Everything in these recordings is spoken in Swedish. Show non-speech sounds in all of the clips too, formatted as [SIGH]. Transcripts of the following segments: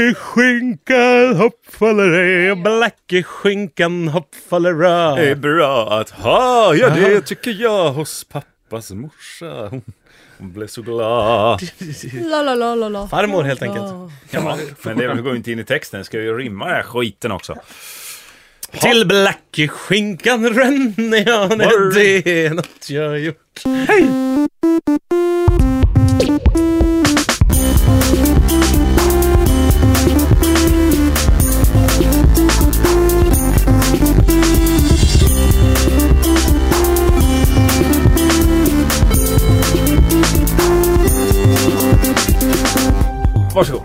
Blackeskinkan hoppfaller är, blackeskinkan hoppfaller Det rör. är bra att ha, ja det tycker jag hos pappas morsa. Hon- Hon blev så glad. La, la, la, la, la. Farmor helt enkelt. Ja, men det går ju inte in i texten, jag ska ju rimma den här skiten också. Till blackeskinkan ränner jag när Var- det är något jag gjort. Varsågod.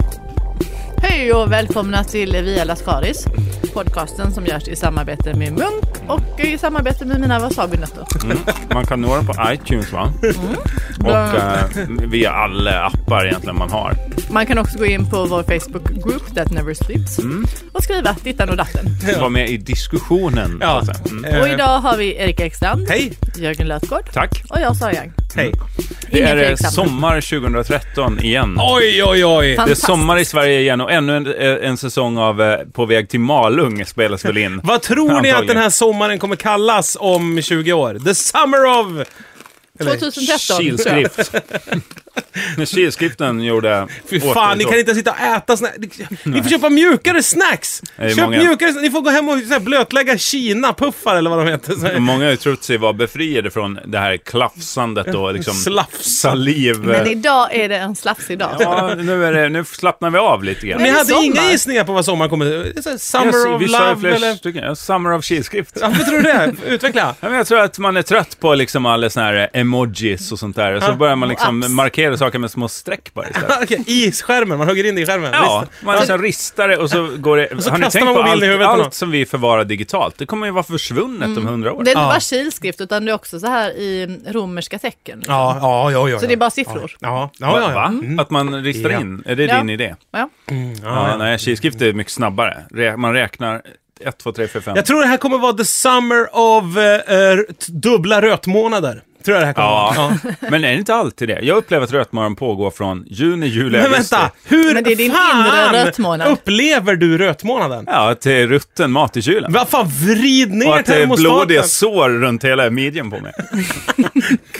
Hej och välkomna till Via Lascaris. Podcasten som görs i samarbete med Munk och i samarbete med mina wasabinötter. Mm. Man kan nå den på iTunes va? Och eh, via alla appar egentligen man har. Man kan också gå in på vår Facebook-grupp That Never Sleeps Mm. och skriva Dittan och Datten. Var med i diskussionen. Ja. så att säga. Mm. Eh, Och idag har vi Erika Ekstrand, Hej! Jörgen Lötgård Tack. och jag Sara Young. Hej. Det Ingen är eh, tveksam. sommar 2013 igen. Oj, oj, oj. Det är Fantastiskt. sommar i Sverige igen och ännu en, en säsong av eh, På väg till Malung spelas väl in. Vad tror ni att Antagligen. den här sommaren kommer kallas om 20 år? The summer of... Eller, 2013. tror jag. [LAUGHS] Kilskrift. När kilskriften gjorde... Fy fan, ni kan inte sitta och äta såna... Ni, ni får köpa mjukare snacks! Det är Köp många- mjukare snacks. Ni får gå hem och så här, blötlägga Kina-puffar eller vad de heter. Så här. Många har trott sig vara befriade från det här klafsandet och liksom Slafsa. saliv... Men idag är det en slafsig dag. Ja, nu, är det, nu slappnar vi av lite grann. Ni det hade sommar? inga gissningar på vad sommaren kommer... så här, Summer Yes, of vi sa ju love flera eller... stycken. Ja, Summer of kilskrift. Varför tror du det? Utveckla. Ja, men jag tror att man är trött på liksom alla såna här emojis och sånt där. Så börjar man apps. liksom markera saker med små streck bara istället. Ah, Okej, I skärmen, man hugger in det i skärmen. Ja, Visst. Alltså- man liksom ristar det och så går det... så har ni kastar man tänkt på mobilen allt, i huvudet Mm. på någon? allt som vi förvarar digitalt? Det kommer ju vara försvunnet om hundra år. Det är inte Ja. bara kilskrift utan det är också så här i romerska tecken. Ja, ja, ja, ja. Så det är bara siffror. Ja, ja, Mm. ja. Va? ja. Att man ristar Ja. in? Är det Ja. din idé? Ja. Ja, Nej, kilskrift är mycket snabbare. Rä- Man räknar 1, 2, 3, 4, 5. Jag tror det här kommer vara the summer of eh, t- dubbla rötmånader. Tror jag det här kommer Ja. [LAUGHS] vara. Men är det inte alltid det? Jag upplever att rötmaran pågår från juni, juli, Men augusti. vänta, hur Men det är din fan inre rötmånad. upplever du rötmånaden? Ja, till rutten mat i kylen. Vad fan, vrid Och ner att det är blodiga termostaten. sår runt hela midjan på mig.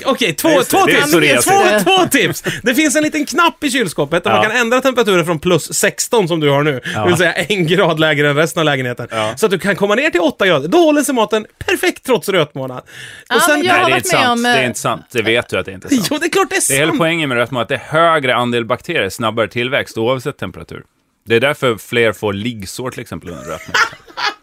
Okej, två, Ja, just det. två Det är tips. psoriasis. Två, två tips. Det finns en liten knapp i kylskåpet där Ja. man kan ändra temperaturen från plus 16 som du har nu, det vill säga en grad lägre än resten av lägenheten. Ja. Så att du kan komma ner till 8 grader. Då håller sig maten perfekt trots rötmånad. Ja, men jag har Nej, det är varit inte med sant. om, Det eh, är inte sant. Det vet du att det inte är sant. Jo, det är klart det är sant. Det är hela poängen med rötmat, att det är högre andel bakterier, snabbare tillväxt oavsett temperatur. Det är därför fler får liggsår till exempel under rötmat.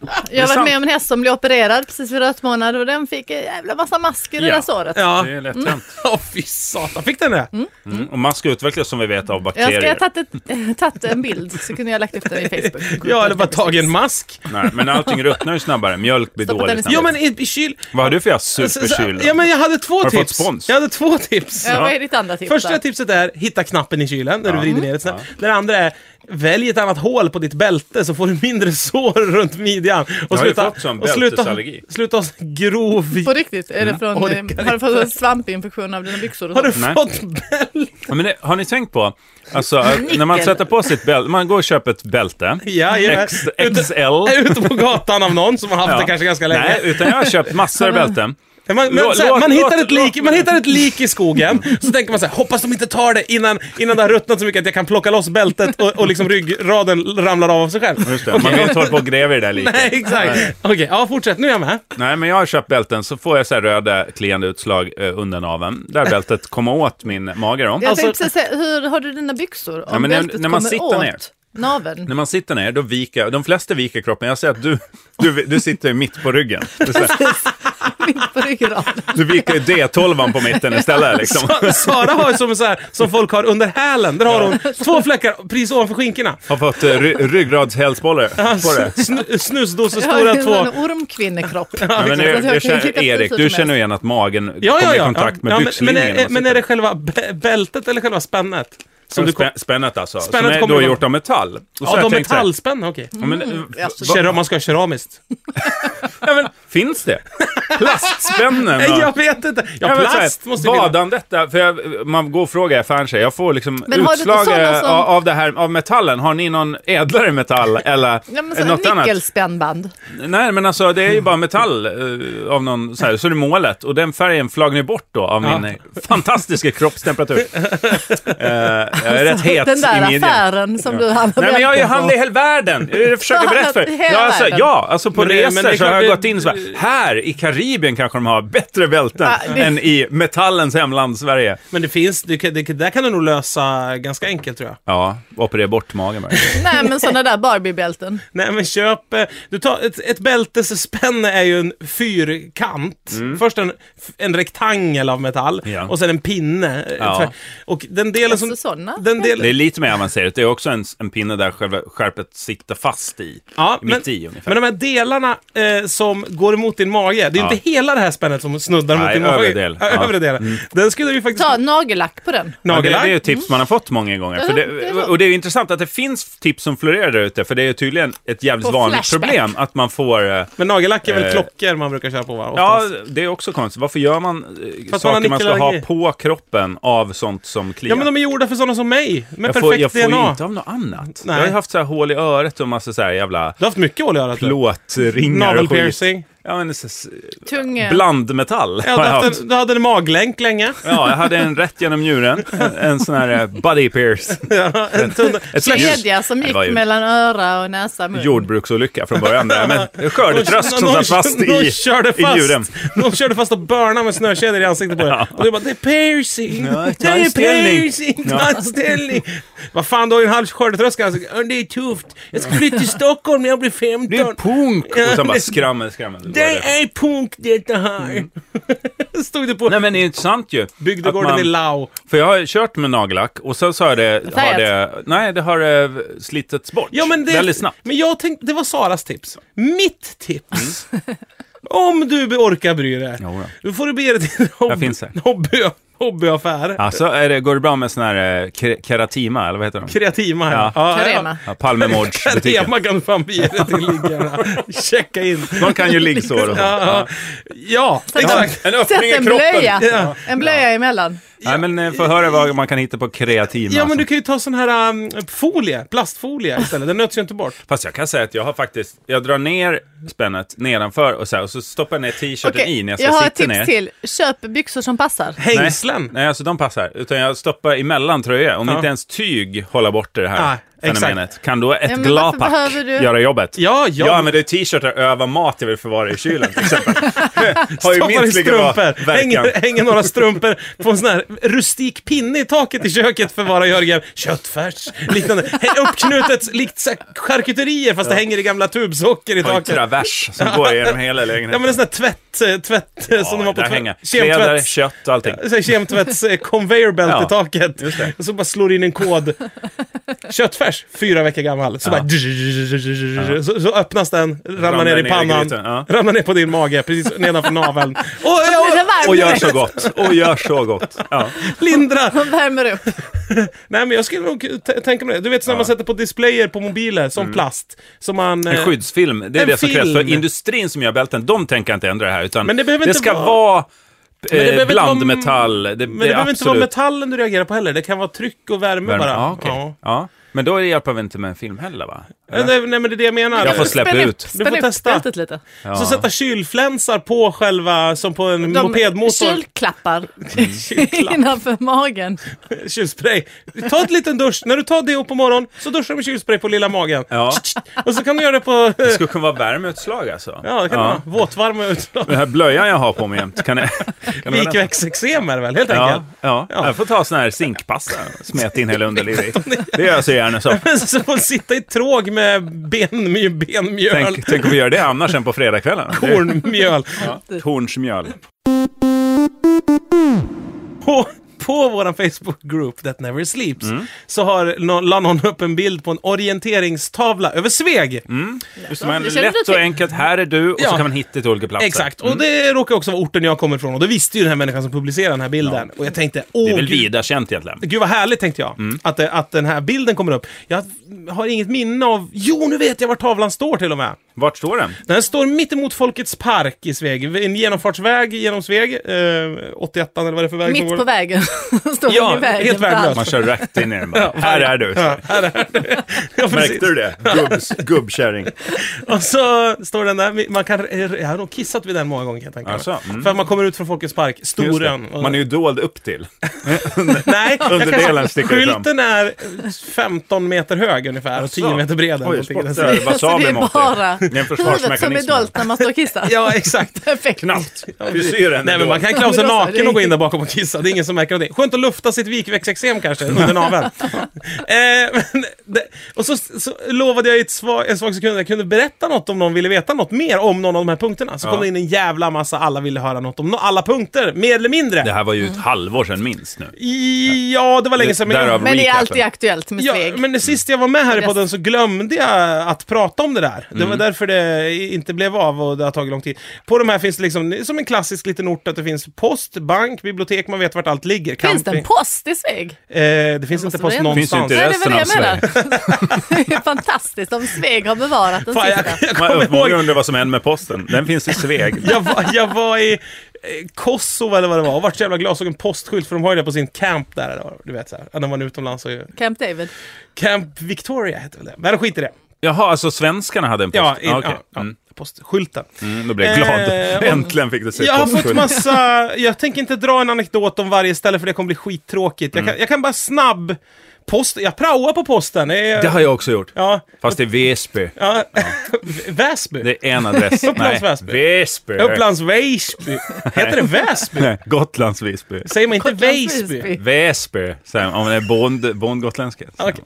Jag har Det är varit med om en häst som blev opererad precis vid rött månad och den fick en jävla massa masker i det Ja. där såret. Ja. Det är lätt hänt. Åh, fy satan. Fick den det? Mm. Och mask utvecklas som vi vet av Jag ska bakterier. ha tagit ett- [LAUGHS] tagit en bild så kunde jag ha lagt upp den i [LAUGHS] Facebook. Ja, eller bara tagit en mask. Nej, men allting ruttnar ju snabbare. Mjölk blir Stoppa den i dåligt. kylen. Ja, men i, i kyl... Vad har du för jag Så- så- superkyl? Ja, men jag hade två Har du fått tips. spons? Jag hade två tips. Ja, vad är ditt andra tips Första då? tipset är hitta knappen i kylen när du vrider ner ett snäpp. Det andra är välj ett annat hål på ditt bälte så får du mindre [LAUGHS] sår runt midjan. Och har ju fått sån och sluta, bältesallergi. sluta ha sån grov... På riktigt, är Mm. det från, Orkar eh, har du fått en svampinfektion av dina byxor? och Har du sånt? Nej. fått bälte? Ja, men det, har ni tänkt på, alltså, att när man Nickel. sätter på sitt bälte, man går och köper ett bälte, Ja, ja. X, [LAUGHS] XL. Ute på gatan av någon som har haft Ja. det kanske ganska länge. Nej, utan jag har köpt massor av bälten. Men Man, men, Låt- såhär, man, låt- hittar ett låt- lik, man hittar ett lik i skogen, så tänker man så här: hoppas de inte tar det innan, innan det har ruttnat så mycket att jag kan plocka loss bältet och, och liksom ryggraden ramlar av av sig själv. Just det, Man vill inte hålla på och gräva i det där liket. Nej, exakt. Okej, ja fortsätt. Nu är jag med. Nej, men jag har köpt bälten så får jag så här röda kliande utslag eh, under naveln. Där bältet kommer åt min mage då. Jag Alltså- tänkte precis säga, hur har du dina byxor? Om Ja, men när- bältet när man kommer sitter åt ner. naveln. När man sitter ner, då viker, de flesta viker kroppen. Jag ser att du, du, du sitter ju mitt på ryggen. Du, så här, Mitt [LAUGHS] på ryggraden. du viker ju D12 på mitten istället liksom. Sa- [LAUGHS] Sara har ju som, så här, som folk har under hälen, där har hon två fläckar precis ovanför skinkorna. Alltså, Har fått eh, ry, ryggradshalsbollar på det. Snu, snusdosor Jag har stora en två. sån ormkvinnekropp. Ja, men Så det, att jag det känner, kan klicka precis Erik, hur du som känner helst. ju igen att magen Ja, ja, kommer i ja. kontakt med ja, men, men, byxlinjen. när är, man men är sitter. det själva bä- bältet eller själva spännet? Som du kom, Spä- Spännet alltså, Spännet som är kommer då igång. gjort av metall. Och så har ja, jag de Mm. tänkt så här, metallspänna, okej. ja, men, eh, alltså, va- Keram- Man ska ha keramiskt. Ja, men, [LAUGHS] finns det? Plastspännen? Nej, och- jag vet inte. Ja, Ja, men så här, plast måste ju finnas. Vadan detta, för jag, man går och frågar jag fan sig. Jag får liksom Men har du inte utslag sådana eh, som- av, av det här, av metallen. Har ni någon ädlare metall eller Ja, men eh, så, något annat? nickelspännband. Nej, men alltså det är ju bara metall eh, av någon så här, så är det målet. Och den färgen flaggar ni bort då av Ja. min eh, [LAUGHS] fantastiska kroppstemperatur. Eh, jag är rätt het Den där i midjan. affären som du handlar Nej men jag har ju mjölken på. handlat i hela världen! Jag försöker berätta för Hela ja, alltså, världen. ja, alltså på Men det- resor men det är så har klart jag det- gått in så bara, här i Karibien kanske de har bättre bälten Ja, det- än i metallens hemland Sverige. Men det finns, det, kan- det, där kan du nog lösa ganska enkelt tror jag. Ja, operera bort magen bara. Nej, men sådana där Barbie-bälten. Nej men köp, eh, du tar, ett, ett bältesspänne är ju en fyrkant. Först en, en rektangel av metall Mm. Ja. och sen en pinne. eh, Ja. för- Och den delen som... Alltså sådana. Den Det är delen, lite mer avancerat. Det är också en, en pinne där själva skärpet siktar fast i. ja, men, mitt i ungefär. men de här delarna eh, som går emot din mage, det är ju Ja. inte hela det här spännet som snuddar mot Nej, din mage. övre del. Ja, Ja. [LAUGHS] Mm. Övre delen. Den skulle du ju faktiskt... Ta nagellack på den. Ja, det, det Nagellack. är ju tips man har fått många gånger. För Ja, det är det, sant. och det är ju intressant att det finns tips som florerar där ute, för det är ju tydligen ett jävligt På vanligt Flashback. problem att man får... eh, Men nagellack är väl Eh, klockor man brukar köra på va? Ja, Oftast. det är också konstigt. Varför gör man eh, man saker har man ska ha nickelallergi. på kroppen av sånt som kliar? ja men de är gjorda för sådana som mig, med jag perfekt får, jag får DNA. ju inte av något annat. Nej. Jag har ju haft så här hål i örat och massa så här jävla Du har haft mycket hål i örat. du. plåtringar Navel och skit. piercing. Ja, men, så- så- Tung... eh, blandmetall Ja, har du, jag har haft. haft en, du hade en maglänk länge. Ja, jag hade en rätt genom njuren. En sån här eh, buddy [LAUGHS] pierce. Ja, en tunn... Ett Kedja som gick Det var ju mellan öra och näsa och mun. Jordbruksolycka från början [LAUGHS] där, men en skördetrösk som Någon- satt fast i, någon körde i fast, njuren. Någon körde fast och börnade med snökedjor i ansiktet på dig. Ja. Och du bara, det är piercing! Ja, det är tandställning. piercing! Ja. Tandställning! Vad fan, du har ju en halv skördetröska i ansiktet. Ja, "Äh, Det är tufft. Jag ska flytta till Stockholm när jag blir 15. Det är punk! Och sen bara det- skrammel, skrammel. Det är punk detta här. [LAUGHS] Stod det på Mm. Nej men det är intressant ju. bygdegården att man- i Lao. För jag har kört med nagellack och sen så har det... Har Färgat. det nej, det har eh, slitits bort. Ja, men det, Väldigt snabbt. Men jag tänkte, det var Saras tips. Mitt tips. Mm. Om du be- orkar bry dig. Jo då. Då får du bege dig till en hobby, finns det. hobby, hobbyaffär. Alltså, är det, går det bra med sån här eh, ke- keratima, eller vad heter de? Kreatima här. Ja. Karema. Ja, Palmemordsbutiken. Karema kan du fan bege [LAUGHS] dig till liggarna. Checka in. De kan ju liggsår och sånt. Ja, ja exakt. En Sätt öppning i en kroppen. blöja. Ja. En blöja emellan. Nej, men eh, få höra vad man kan hitta på kreatima. Ja, men du kan ju ta sån här um, folie, plastfolie istället. Den nöts ju inte bort. Fast jag kan säga att jag har faktiskt, jag drar ner spännet nedanför och så, här, och så stoppar jag ner t-shirten Okej, i när jag ska jag har ett sitta tips ner. till. Köp byxor som passar. Nej, Hängslen. nej, alltså de passar. Utan jag stoppar emellan tröjor. Om Ja. inte ens tyg håller bort det här Ja, exakt. fenomenet, kan då ett Ja, men varför glapack behöver du- göra jobbet? Ja, ja. Jag använder t-shirtar över mat jag vill förvara i kylen, [LAUGHS] till exempel. [LAUGHS] har ju Stoppar i minst lika bra strumpor. verkan. Hänger, hänger några strumpor på en sån här rustik pinne i taket i köket för vara Jörgen. Köttfärs, liknande. Hä- Uppknutet likt så här charkuterier fast det hänger i gamla tubsocker i Har en taket. Ja travers som går genom hela men lägenheten. en sån här tvätt, eh, tvätt eh, som de har på där hänger. tvätt. Kläder, Kemtvätt. kött, allting. Så här Kemtvätts eh, conveyor belt Ja, i taket. Och så bara slår in en kod. Köttfärs, fyra veckor gammal. Så bara... Så, så öppnas den, ramlar Ramlar ner i ner i pannan, grytan, ja. ramlar ner på din mage, precis nedanför naveln. Och, ja, Blir det varmt? Och gör så gott. Och gör så gott. Ja. lindrar! [LAUGHS] De värmer upp. Nej men jag skulle nog t- tänka mig det. Du vet när man sätter på displayer på mobiler som plast. Som man... En eh, skyddsfilm, Mm. det är En det som krävs. För film. industrin som gör bälten, de tänker inte ändra det här. Utan Men det behöver inte ska vara- vara... det behöver Eh, inte vara- blandmetall. Det, Men det, behöver inte vara absolut- metallen du reagerar på heller. Det kan vara tryck och värme, Värme. bara. Ja, okej. Ja. ja. Men då hjälper vi inte med en film heller va? Nej, nej, men det är det jag menar. Jag får släppa Spänn ut. upp, Du får spänn upp testa. bältet lite. Ja. Så sätta kylflänsar på själva, som på en mopedmotor. [LAUGHS] kylklappar Kylklapp. innanför magen. Kylspray. Ta en liten dusch. När du tar deo på morgonen, så duschar du med kylspray på lilla magen. Ja. Och så kan du göra det på... eh, Det skulle kunna vara värmeutslag alltså. Ja, det kan ja. vara våtvarma utslag. Den här blöjan jag har på mig [LAUGHS] jämt, kan jag... Kan det vara den? Vikväxexem är det väl, helt Ja, enkelt. ja. Ja. jag får ta sån här zinkpasta smeta in [LAUGHS] hela underlivet i. Det gör jag så gärna så. Men så får man sitta i tråg med benmjöl, benmjöl Tänk, tänk om vi gör det annars än på fredagskvällen. Det är kornmjöl. Hornsmjöl. På, på vår Facebook-group That Never Sleeps Mm. så har, nå- la någon upp en bild på en orienteringstavla över Sveg. Just det, men Det känner du lätt och till. enkelt, här är du och så Ja. kan man hitta till olika platser. Exakt, och det råkar också vara orten jag kommer ifrån och det visste ju den här människan som publicerade den här bilden. Och jag tänkte, åh Det är väl Mm. gud, vida känt egentligen. Gud vad härligt tänkte jag, att, det- att den här bilden kommer upp. Jag har inget minne av... Jo, nu vet jag var tavlan står till och med. Vart står den? Den här står mitt emot Folkets park i Sveg. En genomfartsväg genom Sveg. Eh, 81 eller vad det är för väg som Mitt går. på vägen. [LAUGHS] Står Ja, man i vägen helt för allt. värdelös. Man kör rätt in i den bara. Här är du. Ja, här [LAUGHS] är det. Ja, precis. Märkte du det? Gubbs, gubbkärring. Och så står den där, man kan, jag har nog kissat vid den många gånger kan jag tänka mig. Alltså, mm. För att man kommer ut från Folkets park, Just det. Storön. Man är ju dold upp till. [LAUGHS] Nej, jag Underdelen kanske- sticker fram. Skylten är 15 meter hög ungefär, och 10 meter bred. eller Alltså. någonting. Oj, sportar. [LAUGHS] Så Alltså, det Wasabi är mot bara Det är en huvudet som är försvarsmekanism. dolt när man står [LAUGHS] och kissar. Ja, exakt. Perfekt. Knappt. Frisyren. Frisyren Nej, är men man dold. kan klä [LAUGHS] av sig Men då så, naken det- och gå in där bakom och kissa. Det är ingen som märker någonting. Skönt att lufta sitt vikväxteksem kanske, [LAUGHS] under naveln. eh, men det, och så, så lovade jag i ett svag, en svag sekund att jag kunde berätta något om någon ville veta något mer om någon av de här punkterna. Så Ja. kom det in en jävla massa, alla ville höra något om no- alla punkter, mer eller mindre. Det här var ju ett halvår sedan minst nu. I- Ja, det var länge sedan. men jag- Därav Men det är recapen. alltid aktuellt med Ja, Sveg. men Mm. det sist jag var med här i Yes. podden så glömde jag att prata om det där. Det Mm. var därför det inte blev av och det har tagit lång tid. På de här finns det liksom, som en klassisk liten ort, att det finns post, bank, bibliotek, man vet vart allt ligger. Finns det en Camping. post i Sveg? Eh, det finns inte måste post vara en. Finns någonstans. inte Nej, det. det är väl Resten det av jag menar. [LAUGHS] Det är fantastiskt om Sveg har bevarat den Fan, jag, sista. jag Man, kommer många ihåg, undrar vad som hände med posten. Den finns i Sveg. [LAUGHS] jag var, jag var i eh, Kosovo eller vad det var och vart så jävla glad, såg en postskylt för de har ju det på sin camp där. eller vad- Du vet såhär, när man är utomlands. Och, Camp David. camp Victoria heter väl det? Men skit i det. Jaha, alltså svenskarna hade en post? Ja, in, Ah, okej. ja, ja, Mm. postskylten. Mm, då blev jag glad. Eh, och- Äntligen fick du se Jag har fått postskylt. massa, jag tänker inte dra en anekdot om varje ställe för det kommer bli skittråkigt. Mm. Jag kan, jag kan bara snabb, post, jag praoar på posten. Det är, Det har jag också gjort. Ja, Fast i Väsby. ja. [LAUGHS] Väsby? Det är en adress. Upplands Nej, Väsby. Väsby. Upplands Väsby. Heter det Väsby? Nej, Gotlands Visby. Säger man inte Gotlands Väsby? Visby. Väsby, säger man. Om det är bond, bondgotländska. Ja, okej.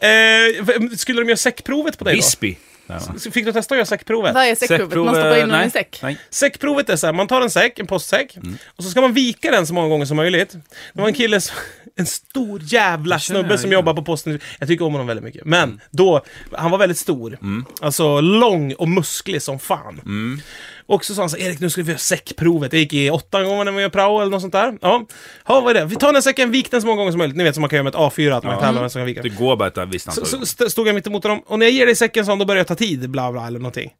Eh, v- skulle de göra säckprovet på dig då? Visby. säger man. Så Fick du testa att göra säckprovet? Varje säckprovet man stoppar in nej, honom i en säck. Nej. Säckprovet är så här, man tar en säck, en postsäck, och så ska man vika den så många gånger som möjligt. Det var en kille, som, [LAUGHS] en stor jävla känner snubbe jag som igen. Mm. jobbar på posten. Jag tycker om honom väldigt mycket. Men då, han var väldigt stor. Alltså lång och musklig som fan. Mm. Och så sa han så här, Erik nu ska vi göra säckprovet. Jag gick i åttan gånger när man gör prao eller något sånt där. Ja, ja vad är det? Vi tar den här säcken, vik den så många gånger som möjligt. Ni vet som man kan göra med ett A4, att man kan Mm. tävla vem som kan vika. Det går bara ett visst Så, antal så st- stod jag mitt emot honom och när jag ger dig säcken sa han, då börjar jag ta tid, bla bla eller någonting.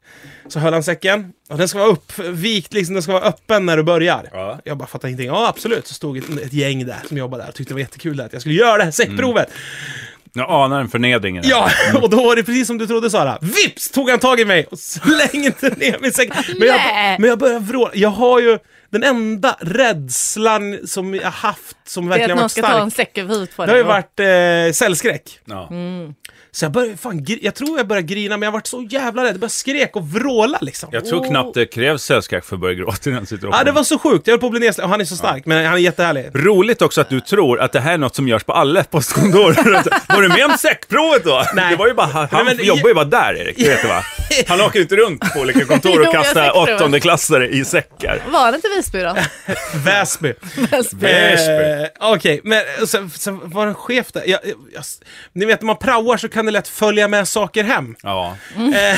Så höll han säcken och den ska vara uppvikt, liksom, den ska vara öppen när du börjar. Ja. Jag bara fattade ingenting. Ja absolut, så stod ett, ett gäng där som jobbade där och tyckte det var jättekul att jag skulle göra det här säckprovet. Jag anar en förnedring i det här. Ja, [LAUGHS] och då var det precis som du trodde Sara. Vips tog han tag i mig och slängde [LAUGHS] ner min säck. Men Nej. jag, men jag började vråla. Jag har ju den enda rädslan som jag haft som Det är verkligen att har någon varit ska ta en stark. säck över huvudet på Det har ju dig. varit eh, cellskräck. Ja. Mm. Så jag började, fan, gri- jag tror jag började grina, men jag vart så jävla rädd. Jag började skrek och vråla liksom. Jag tror Oh. knappt det krävs sällskap för att börja gråta i den situationen. Ja, det var så sjukt. Jag höll på att bli nedsläppt. Och han är så stark, men han är [LAUGHS] jättehärlig. Roligt också att du tror att det här är något som görs på alla postkontor. [LAUGHS] var du med om säckprovet då? Nej. Det var ju bara, han Nej, men- jobbar ju bara där, Erik. Du vet det, va? Han åker ju inte runt på olika [LAUGHS] kontor Jo, och jag kastar säckprov. åttondeklassare i säckar. Var det inte [LAUGHS] Visby då? Väsby. Väsby. Väsby. Eh, Okej, men sen, sen var det en chef där. Jag, jag, jag, ni vet, när man praoar så kan det lätt följa med saker hem. Ja,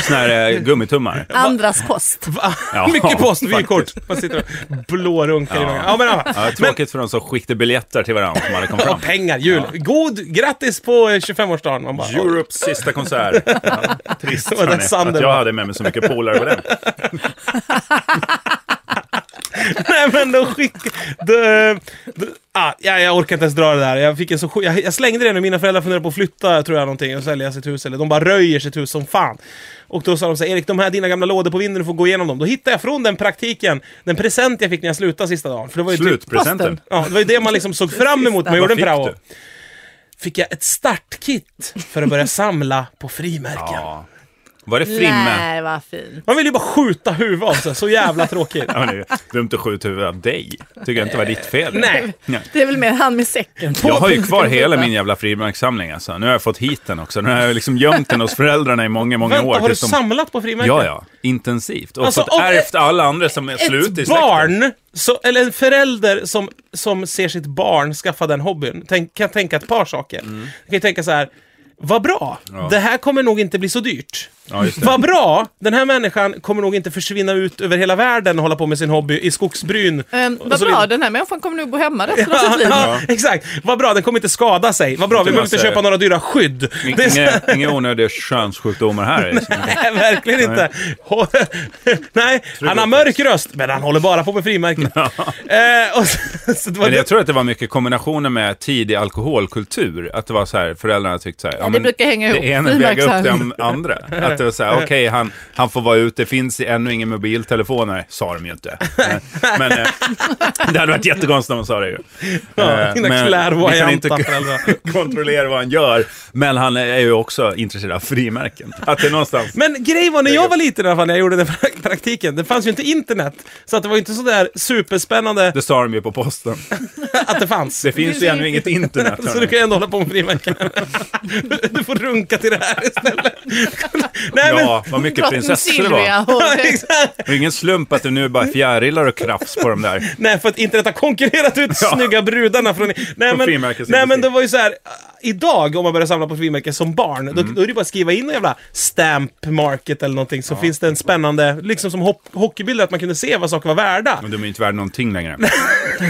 såna här eh, gummitummar. Andras post. Va? Ja, [LAUGHS] Mycket post, faktiskt. vykort. Man sitter och blårunkar i magen. Ja, men, ja. Ja, tråkigt för de som skickade biljetter till varandra som aldrig kom fram. Och pengar, jul. God, grattis på eh, 25-årsdagen. Man bara, Europes sista [LAUGHS] konsert. Ja, trist Det var där hörni, att Sander jag var. hade med mig så mycket polare [LAUGHS] på den. [LAUGHS] Nej men de skickade... De, de, ah, jag, jag orkar inte ens dra det där. Jag, fick en så, sjuk- jag, jag slängde det när mina föräldrar funderade på att flytta tror jag någonting och sälja sitt hus. Eller de bara röjer sitt hus som fan. Och då sa de så här, Erik de här dina gamla lådor på vinden, du får gå igenom dem. Då hittade jag från den praktiken den present jag fick när jag slutade sista dagen. För det var ju typ- Slutpresenten. Ja, det var ju det man liksom såg fram emot när man gjorde en Vad fick prao. Fick jag ett startkit för att börja samla på frimärken. Ja. Var det frimme? Nej, vad fint. Man vill ju bara skjuta huvudet av sig, så jävla tråkigt. Ja, men det är Dumt att skjuta huvudet av dig. Tycker jag inte var ditt fel. Nej. Det är väl mer han med säcken. Jag har ju kvar hela min jävla frimärkssamling alltså. Nu har jag fått hit den också. Nu har jag liksom gömt den hos föräldrarna i många, många år. Vänta, har du tills de- samlat på frimärken? Ja, ja. Intensivt. Och Alltså, fått om ärvt alla andra som är slut i ett släkten. barn, så, eller en förälder som, som ser sitt barn skaffa den hobbyn, tänk, kan tänka ett par saker. Man kan ju tänka så här, Vad bra! Mm. Ja. Det här kommer nog inte bli så dyrt. Ja, just det. Vad bra! Den här människan kommer nog inte försvinna ut över hela världen och hålla på med sin hobby i skogsbryn. Ehm, Och vad så bra, vidare. den här människan kommer nog bo hemma resten av Ja, sitt liv. [LAUGHS] ja, exakt. Vad bra, den kommer inte skada sig. Vad bra, vi Inte behöver inte massa- köpa några dyra skydd. Det är så- Inga, inga onödiga könssjukdomar här. liksom. [LAUGHS] Nej, verkligen inte. Nej, han har mörk röst, men han håller bara på med frimärken. Eh, och så, så det var Men jag det. tror att det var mycket kombinationer med tidig alkoholkultur. Att det var så här, föräldrarna tyckte så här. Ja, det men brukar hänga ihop. Det ena Frimärks- väger upp det andra. Att det var så här, okej, han, han får vara ute, det finns ännu ingen mobiltelefoner. Sa de ju inte. Eh, Men eh, det hade varit jättekonstigt om de sa det ju. Ja, Eh, dina men klärvoajanta vi kan inte föräldrar. kontrollera vad han gör. Men han är ju också intresserad av frimärken. Att det är någonstans... Men grejen var när jag var liten i alla fall, när jag gjorde den pra- praktiken, det fanns ju inte internet. Så att det var ju inte sådär superspännande Det sa de ju på posten. att det fanns. Det finns ju ännu inget internet. [LAUGHS] Så du kan ju ändå hålla på med frimärken. Du får runka till det här istället. Nej, men, Ja, vad mycket Drottning prinsessor det var. Silvia [LAUGHS] och- Ja, exakt. Och ingen slump att det nu bara är fjärilar och krafs på de där. Nej, för att internet har konkurrerat ut [LAUGHS] Ja. snygga brudarna från... Nej, men, frimärkesindustrin. nej, men det var ju så här. äh, Idag, om man börjar samla på frimärken som barn, Mm. då, då är det bara att skriva in en jävla stamp market eller någonting, så finns det en spännande, liksom som hop- hockeybilder, att man kunde se vad saker var värda. Men de är ju inte värda någonting längre. Nej,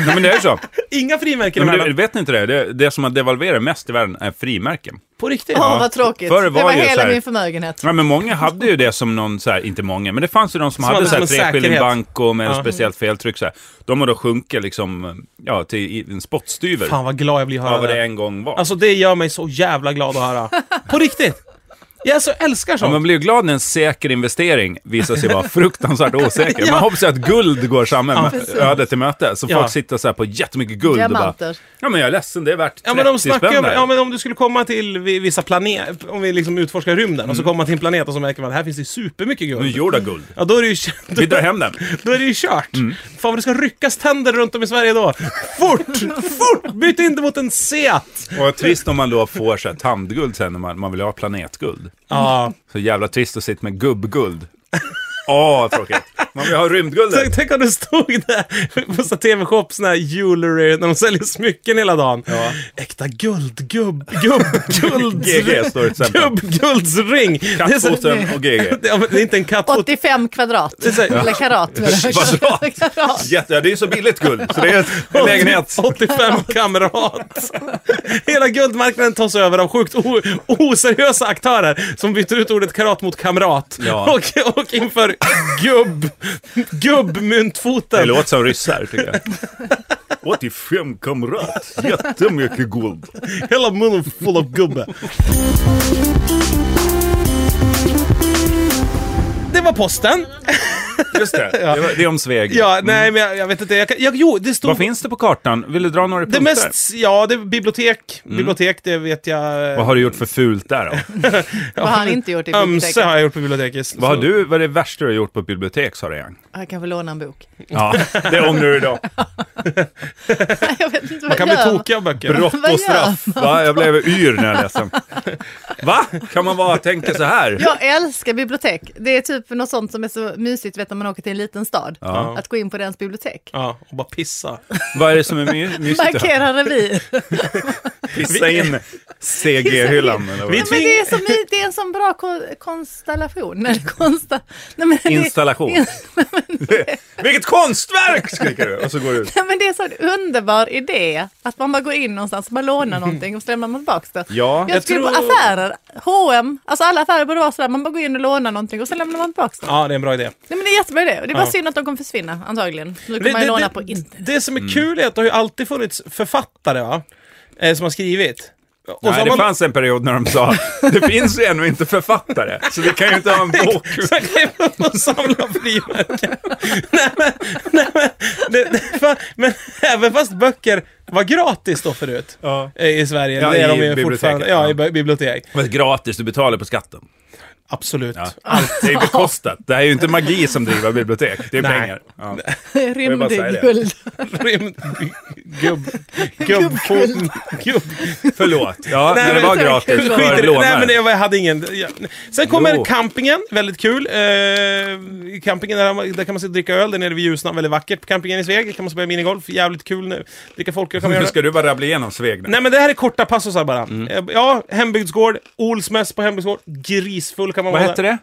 men det är ju så. Inga frimärken Nej, men emellan. du, vet ni inte det? det? Det som har devalverat mest i världen är frimärken. På riktigt. Åh, Ja. vad tråkigt. Förr det var var ju så hela här- min förmögenhet. Ja, men många hade ju det som någon, så här, inte många, men det fanns ju de som, hade hade, som en så här, tre säkerhet. skilling banko med Ja. ett speciellt feltryck. Så här. De har då sjunkit liksom, ja, till i- en spottstyver Fan av vad glad jag blir att höra vad det. det en gång var. Alltså det gör mig så jävla glad att höra. På riktigt! Jag så älskar Ja, sånt. man blir ju glad när en säker investering visar sig [LAUGHS] vara fruktansvärt osäker. Man hoppas ju att guld går samma öde till möte. Så Ja. folk sitter så här på jättemycket guld och bara, Diamanter. ja men jag är ledsen, det är värt 30 Ja men, de snackar spänn ju om, där." ja men om du skulle komma till vi- vissa planeter, om vi liksom utforskar rymden, och Mm. så kommer man till en planet och så märker man att här finns det supermycket De är guld. gjorda av guld. Ja då är det ju, k- Vi drar [LAUGHS] hem den. då är det ju kört. Fan vad det ska ryckas tänder runt om i Sverige då. Fort! Fort! Byt inte mot en Seat! Och trist om man då får så här tandguld sen när man, man vill ha planetguld. Ja, Så jävla trist att sitta med gubbguld. Åh, vad tråkigt. Man vill ha tänk, rymdguldet. tänk om du stod där på så här TV-shop, sån här jewelry, när de säljer smycken hela dagen. Ja. Äkta guld, gubb, gubb, [LAUGHS] guld. GG står det till exempel. Gubbguldsring! Det är så- Kattfoten och GG. Det ja, men det är inte en kattfot. 85 kvadrat. är så här- Eller [LAUGHS] karat. menar jag. Kvadrat. [LAUGHS] Karat. Jätte, ja, det är ju så billigt guld, så det är en lägenhet. 85 kamrat. Hela guldmarknaden tas över av sjukt o- oseriösa aktörer som byter ut ordet karat mot kamrat. Ja. Och, och inför gubb, Det gubbmyntfoten. låter som ryssar, tycker jag. 85 kamrat, jättemycket guld. Hela munnen full av gubbe. Det var posten. Just det, det, var- det är om Sveg. Ja, nej men jag, jag vet inte. Jag, kan- jag, jo, det stod... Vad finns det på kartan? Vill du dra några Det punkter? mest, ja, det är bibliotek. Bibliotek, det vet jag. Mm. Vad har du gjort för fult där då? Vad har han inte gjort i Ömse biblioteket? har jag gjort på biblioteket. Vad, har du, vad är det värsta du har gjort på ett bibliotek, sa du igen? Jag kan väl låna [LAUGHS] en bok. Ja, det ångrar du idag. Jag vet inte vad Man kan bli jag gör. tokig av böcker. Brott Vad gör och straff. Va? Jag blev yr när jag läste den. Va? Kan man bara tänka så här? Jag älskar bibliotek. Det är typ något sånt som är så mysigt vet, när man åker till en liten stad. Att gå in på dens bibliotek. Ja, och bara pissa. Vad är det som är my mysigt? då? [LAUGHS] Markera revir. Pissa in CG-hyllan. eller vad? Vi Nej, men det, är så my- det är en sån bra ko- konstellation. [LAUGHS] Eller konsta- Nej, men det- Installation. Vilket konstverk! Skriker du och så går du ut. [LAUGHS] Nej, men det är så en underbar idé att man bara går in någonstans, man lånar någonting och så lämnar man tillbaka det. Ja, jag Mm-hmm. jag skulle på tror- affärer, H&M, alltså alla affärer borde vara sådär, man bara går in och lånar någonting och sen lämnar man tillbaka det. Ja, det är en bra idé. Nej men det är jättebra idé och det är bara Ja. synd att de kommer försvinna antagligen. Nu Det, kommer man ju låna det, på det, internet. det som Mm. är kul är att det har ju alltid funnits författare va? Eh, som har skrivit. Och så Nej, har det man- fanns en period när de sa det finns ju ännu inte författare, så vi kan ju inte ha en [LAUGHS] bok. Så klev de och samlade frimärken. nej men, nej men, det, det, fan, men även fast böcker var gratis då förut. Ja. eh, I Sverige. Ja, det är i de ju biblioteket, fortfarande. Ja, ja. i bi- bibliotek. Men gratis, du betalar på skatten. Absolut. [LAUGHS] Ja. Allt är ju bekostat. Det här är ju inte magi som driver bibliotek, det är Nej. pengar. Ja. [LAUGHS] vill bara Rymd säga i det. guld. Rymd... Gubb... Gubbfot... Gubb... Förlåt. Ja, Nej, när det men var tack. gratis Skit Skit i för det. Nej, men lånare. jag hade ingen... Jag... Sen kommer Jo. campingen, väldigt kul. Eh, i campingen, där, där kan man sitta och dricka öl, där nere vid Ljusnan, väldigt vackert. Campingen i Sveg, där kan man spela minigolf, jävligt kul nu. Dricka folköl kan man Nu göra. ska Mm. du bara rabbla igenom Sveg nu. Nej men det här är korta passosar bara. Eh, Ja, hembygdsgård, Olsmäss på hembygdsgård. Grisfull kan man Vad vara heter där. det?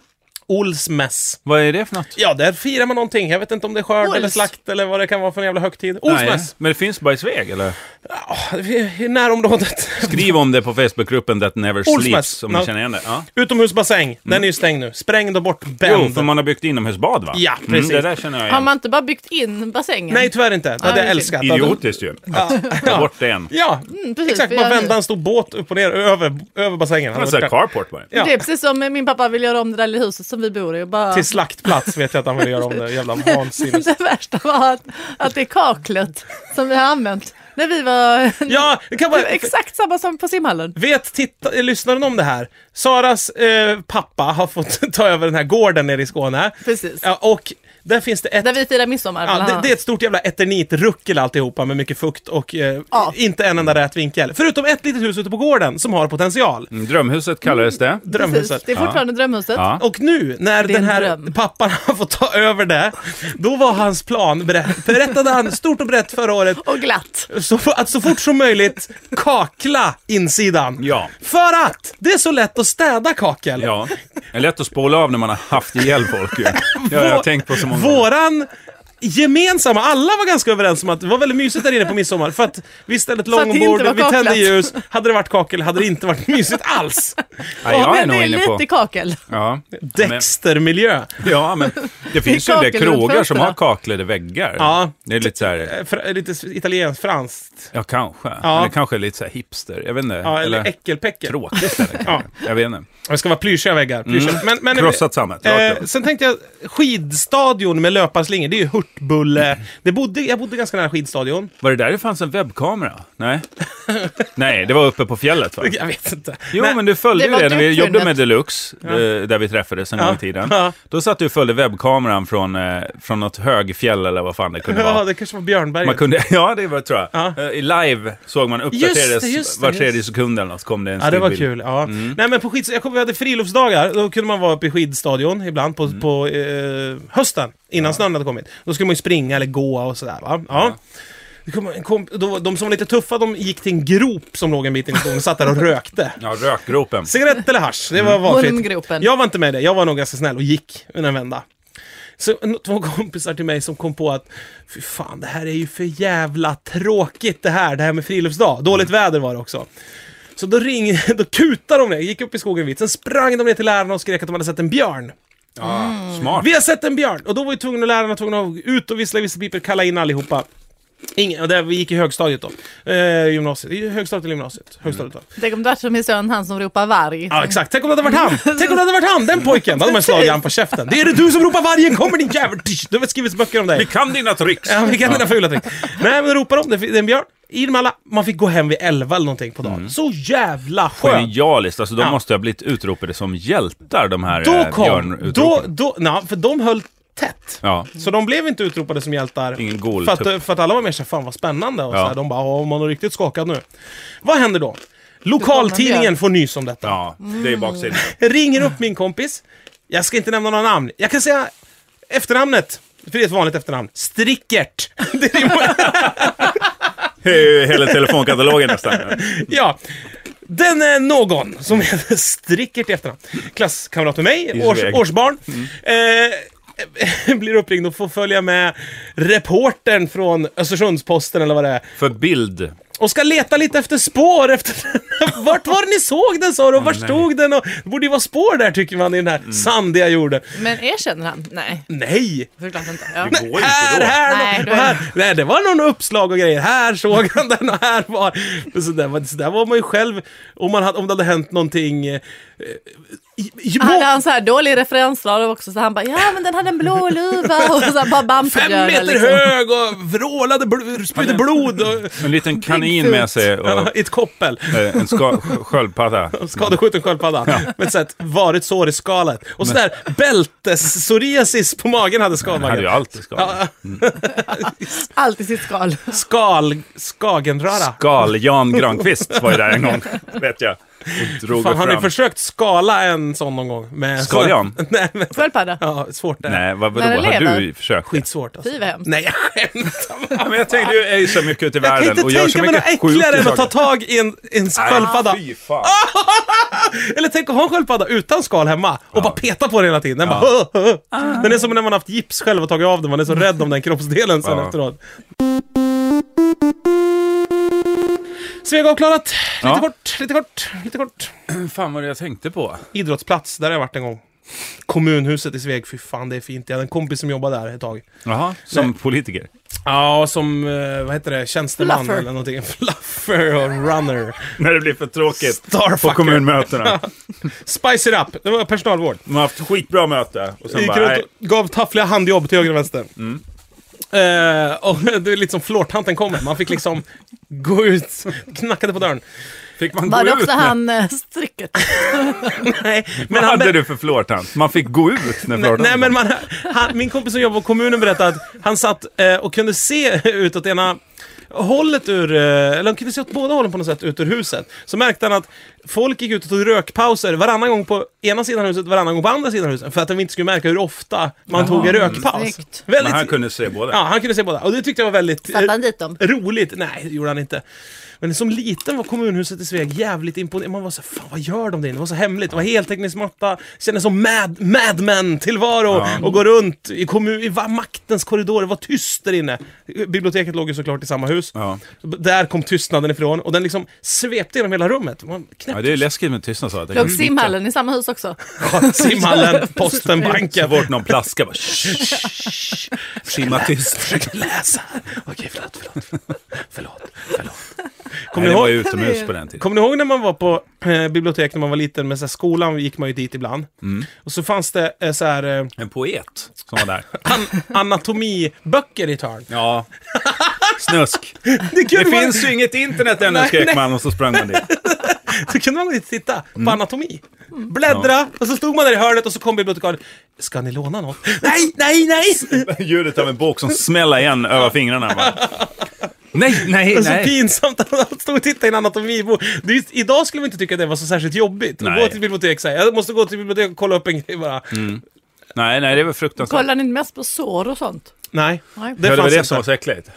Olsmäss. Vad är det för något? Ja, där firar man någonting. Jag vet inte om det är skörd Ols. eller slakt eller vad det kan vara för en jävla högtid. Nej, Olsmäss! men det finns bara i Sveg, eller? Ja, I närområdet. [LAUGHS] Skriv om det på Facebookgruppen That Never Olsmäss. Sleeps, om Ja. ni känner igen det. Ja. Utomhusbassäng, den är ju stängd nu. Sprängd och Mm. Jo, bortbänd. för man har byggt inomhusbad, va? Mm, Ja, precis. det där känner jag Har igen. man inte bara byggt in bassängen? Nej, tyvärr inte. Det hade det är jag älskat. Idiotiskt ju, att ta bort det än. Ja, Mm, precis, exakt. för Bara jag- vända en stor båt upp och ner över, över bassängen. Det var så här carport bara. Ja. Det är precis som eh, min pappa vill göra om det där lilla huset som vi bor i. Och bara... Till [LAUGHS] slaktplats vet jag att han ville göra om det. Jävla vansinne. det värsta var att, att det kaklet som vi har använt när vi [LAUGHS] var... Ja, det kan Det var vara... exakt samma som på simhallen. Vet titta, eh, lyssnaren om det här? Saras eh, pappa har fått [LAUGHS] ta över den här gården nere i Skåne. Precis. Ja, och där finns det ett... Där vi firar midsommar. Ja, bland det, annat. det är ett stort jävla eternitruckel alltihopa med mycket fukt och eh, Ja. inte en enda rät vinkel. Förutom ett litet hus ute på gården som har potential. Mm, Drömhuset kallades det. Drömhuset. Precis, det är fortfarande drömhuset. Ja. Och nu när Det är den en här dröm. pappan har fått ta över det, då var hans plan, berä- berättade han stort och brett förra året, Och glatt. så, att så fort som möjligt kakla insidan. Ja. För att det är så lätt att städa kakel. Ja. Det är lätt att spåla av när man har haft ihjäl folk ju. Ja, jag har Vå- tänkt på så många gånger. Våran gemensamma, alla var ganska överens om att det var väldigt mysigt där inne på midsommar. För att vi ställde ett att det långbord, inte var vi tände kaklat. ljus. Hade det varit kakel hade det inte varit mysigt alls. Ja, jag är Men nog det är inne på... lite kakel. Ja. [LAUGHS] Men, Dextermiljö. [LAUGHS] ja, men det finns ju en del kakel runt krogar som fönstren. har kaklade väggar. Ja. Det är lite så här, Eh, fr- Lite italienskt, franskt. ja kanske. Ja. Eller kanske lite så här hipster. Jag vet inte. Ja, eller, eller äckelpäckel. tråkigt eller Ja. kanske. Jag vet inte. Det ska vara plyschiga väggar. Plyschiga. Mm. Men, men, Krossat sammet. Eh, rakt upp. sen tänkte jag, skidstadion med löparslingor, det är ju Hurtbulle. Det bodde, jag bodde ganska nära skidstadion. [LAUGHS] Var det där det fanns en webbkamera? Nej. Nej, det var uppe på fjället va? [LAUGHS] Jag vet inte. Jo, Nej. men du följde Det ju var det när vi dubbelnet. jobbade med Deluxe, eh, där vi träffades en Ja. gång i tiden. Ja. Då satt du och följde webbkameran från, eh, från något högfjäll eller vad fan det kunde [LAUGHS] Ja, vara. det kanske var Björnberget. Man kunde, [LAUGHS] ja, det var tror jag. Ja. Eh, I live såg man Just uppdaterades det, just det, var tredje just sekund eller något, så kom det en Ja, det var stillbild. kul. Ja. Nej, men på skid... Jag kommer vi hade friluftsdagar. Då kunde man vara uppe i skidstadion ibland på, på eh, hösten, innan snön hade kommit. Då skulle man ju springa eller gå och sådär. Va? Ja. Det kom, kom, då, de som var lite tuffa, de gick till en grop som låg en bit in i skogen och satt där och rökte. Ja, rökgropen. Cigarett eller hasch, det var valfritt. Ormgropen. Jag var inte med i det, jag var nog ganska snäll och gick under en vända. Så n- två kompisar till mig som kom på att Fy fan, det här är ju för jävla tråkigt det här, det här med friluftsdag. Dåligt väder var det också. Så då ringde, [LAUGHS] då kutade de ner, gick upp i skogen vitt, sen sprang de ner till lärarna och skrek att de hade sett en björn. Ja, Smart. Mm. Vi har sett en björn! Och då var ju tvungna lärarna tvungna att ut och vissla i visselpipor, kalla in allihopa. Ingen, och där, vi gick i högstadiet då. Eh, gymnasiet. I Högstadiet eller gymnasiet? Högstadiet då. Tänk om det varit som min son, han som ropar varg. Ja exakt, tänk om det hade varit han! Tänk om det hade varit han, den pojken! Då hade man slagit han på käften. Det är det du som ropar vargen kommer din jävel! Tysch, Det har väl skrivits böcker om Vi dig. kan dina tricks! Ja, vi kan dina fula trick. Nej men ropar de, det är en björn. In med alla. Man fick gå hem vid 11 eller någonting på dagen. Mm. Så jävla skönt! Genialiskt, alltså de Ja. måste ha blivit utropade som hjältar, de här Då eh, kom, björnutropen. då, då, na, för de höll tätt. Ja. Så de blev inte utropade som hjältar. Ingen gol, för, att, typ. för att alla var mer såhär, fan vad spännande. Och Ja. så här, de bara, "Ja, man är riktigt skakad nu. Vad händer då? Lokaltidningen får nys om detta. ja, det är baksidan. ringer upp min kompis. Jag ska inte nämna några namn. Jag kan säga efternamnet. För det är ett vanligt efternamn. Strickert. [LAUGHS] Det är ju- Det är Mm. ju [LAUGHS] hela [LAUGHS] telefonkatalogen nästan. ja. Den är någon som heter Strickert i efternamn. Klasskamrat med mig, års, Sveg. årsbarn. Eh, [LAUGHS] blir uppringd och får följa med reportern från Östersundsposten eller vad det är. För bild. Och ska leta lite efter spår efter [LAUGHS] Vart var det ni såg den sa du? Och var stod den? Och, det borde ju vara spår där tycker man i den här sandiga jorden. Men erkänner han? Nej, Nej, förklart inte. Ja. Det går här, inte då. här, Nej, nej, då och är- här. Nej, det var någon uppslag och grejer. Här såg han den och här var... Men Så där, var- så där var man ju själv om, man hade, om det hade hänt någonting... Eh, i, i, Hade han så här dålig referensradar också så han bara ja men den hade en blå luva och så här bara liksom. fem Bamsebjörnar meter liksom. hög och vrålade, bl- spydde blod. Och, En liten kanin med sig och I ett koppel. eh, en ska, [LAUGHS] sk- sköldpadda. Skadeskjuten sköldpadda. Med ett sånt varigt sår i skalet. Och sådär bältes-psoriasis på magen hade Den hade ju skalmagen. alltid skadat. Ja, Allt i [LAUGHS] sitt skal. skal... Skagenröra. Skal-Jan Granqvist var ju där [LAUGHS] en gång, vet jag. Och drog Fan, har ni fram. försökt skala en sån någon gång? Med Skaljan? [LAUGHS] Nej, men... Sköldpadda. Ja, svårt det. Nej. Nej, vad vadå? När den Har lever. du försökt? Skitsvårt alltså. Fy vad hemskt. Nej, jag skämtar. Ja, men jag tänkte, du är ju så mycket ute i Jag kan världen inte och gör tänka så mig mycket något äckligare än att ta saker. tag i en, en sköldpadda. Nej, fy fan. Eller tänk att ha en sköldpadda utan skal hemma och bara peta på den hela tiden. Den, bara, Ah. den är som när man haft gips själv och tagit av den. Man är så rädd om den kroppsdelen sen Ja. efteråt. Sveg avklarat. Lite Ja. kort, lite kort, lite kort. Fan vad det jag tänkte på. Idrottsplats, där har jag varit en gång. Kommunhuset i Sveg, fy fan det är fint. Jag hade en kompis som jobbade där ett tag. Jaha, som politiker. Ja, som, eh, vad heter det, tjänsteman Fluffer. eller någonting. [LAUGHS] Fluffer och runner. När det blir för tråkigt på Starfucker. kommunmötena. Spice it up, det var personalvård. De har haft skitbra möte och sen Gick bara, runt nej, Mm. och gav taffliga handjobb till höger och vänster. Eh, och [LAUGHS] det är lite som flårtanten kommer, man fick liksom gå ut, knackade på dörren. fick man gå Var det ut? också han eh, stricket? Nej, men Vad [LAUGHS] han, hade du för flörtant? Man fick gå ut när flörtanten Nej men man, han, min kompis som jobbar på kommunen berättade att han satt eh, och kunde se [LAUGHS] ut åt ena hållet ur, eh, eller han kunde se åt båda hållen på något sätt ut ur huset. Så märkte han att folk gick ut och tog rökpauser varannan gång på ena sidan av huset, varannan gång på andra sidan av huset. För att de inte skulle märka hur ofta man tog en rökpaus. Snyggt. Men Väldigt, han kunde se båda. Ja, han kunde se båda. Och det tyckte jag var väldigt... Satte eh, han dit Mm, dem? Roligt? Nej, det gjorde han inte. Men som liten var kommunhuset i Sveg jävligt imponerande. Man var så här, fan vad gör de där inne? Det var så hemligt. Det var heltäckningsmatta. Kändes som mad, mad men-tillvaro. Och gå runt i, kommun, i va- maktens korridorer. Det var tyst där inne. Biblioteket låg ju såklart i samma hus. Ja. Så b- Där kom tystnaden ifrån. Och den liksom svepte genom hela rummet. Man Ja, knäppte det är läskigt med tystnad så. att jag Låg kan- simhallen i samma hus också? [LAUGHS] simhallen, posten, Så banken. fort någon plaskar bara... "Shh, shh, shh." Simma tyst. Försökte läsa. Okej, förlåt, förlåt. Förlåt, förlåt. Kommer Nej, ni det ihåg? var ju utomhus på den tiden. Kommer ni ihåg när man var på eh, bibliotek när man var liten? Med så här, skolan gick man ju dit ibland. Och så fanns det eh, så här, eh, En poet som var där. an anatomiböcker i ett [LAUGHS] hörn. Ja. Snusk. kunde Det man- finns ju inget internet ännu, Nej, skrek nej. man och så sprang man dit. Så kunde man gå dit och titta på anatomi. Bläddra, och så stod man där i hörnet och så kom bibliotekarien. Ska ni låna något? nej, nej, nej! Ljudet av en bok som smäller igen över fingrarna. Bara. Nej, Det nej, är så nej. pinsamt att han stod och tittade i en anatomibok. Det är just- Idag skulle vi inte tycka det var så särskilt jobbigt. Att Nej. gå till bibliotek så här. Jag måste gå till bibliotek och kolla upp en grej bara. Nej, nej, det var fruktansvärt. Kollar ni inte mest på sår och sånt? Nej. Nej. Det ja, det var fanns det inte. som var [LAUGHS] så äckligt.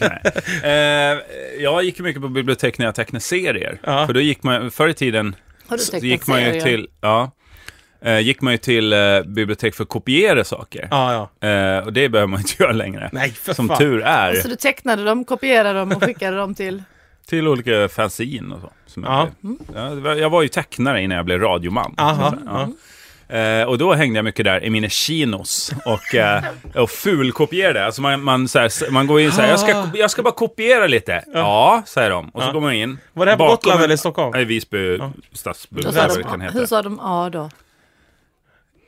Nej. eh, jag gick ju mycket på bibliotek när jag tecknade serier. Ja. För då gick man, förr i tiden, Har du så tecknat gick man ju serier? till, ja, eh, gick man ju till eh, bibliotek för att kopiera saker. Ja, ja. Eh, och det behöver man inte [LAUGHS] göra längre. Nej, för Som fan. tur är. Så du tecknade dem, [LAUGHS] kopierade dem och skickade dem till... Till olika fanzine och så. Som jag, Ja. blev. Ja, det var- jag var ju tecknare innan jag blev radioman. Aha, Så, ja. Eh, och då hängde jag mycket där i mina chinos och, eh, och fulkopierade. Alltså man, man, så här, man går in så här, jag Ah." ska, jag ska bara kopiera lite. Ja, säger de. Och så går man in. Var det här på Bakom Gotland en- eller i Stockholm? Nej, Visby Då stadsbibliotek. sa vad det kan de, hur heta. sa de A då?